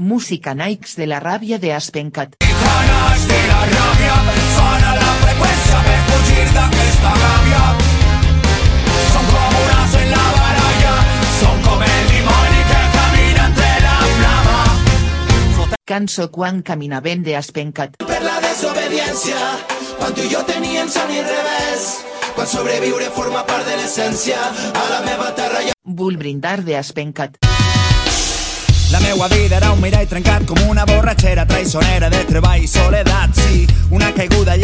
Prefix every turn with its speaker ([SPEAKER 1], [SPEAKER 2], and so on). [SPEAKER 1] Música Nikes de la rabia de Aspencat.
[SPEAKER 2] Icones de la ràbia, sona la freqüència per fugir d'aquesta gàbia. Són com unes en la baralla, són com el dimoni que camina entre la flama.
[SPEAKER 1] Canso Juan Caminaven de Aspencat.
[SPEAKER 2] Per la desobediència, quan tu i jo teníem son i revés, quan sobreviure forma part de l'essència, a la meva terra hi ha
[SPEAKER 1] Bull Brindar de Aspencat.
[SPEAKER 2] La meua vida era un mirall trencat com una borratxera traïsonera de treball i soledat, sí, una caiguda lliure.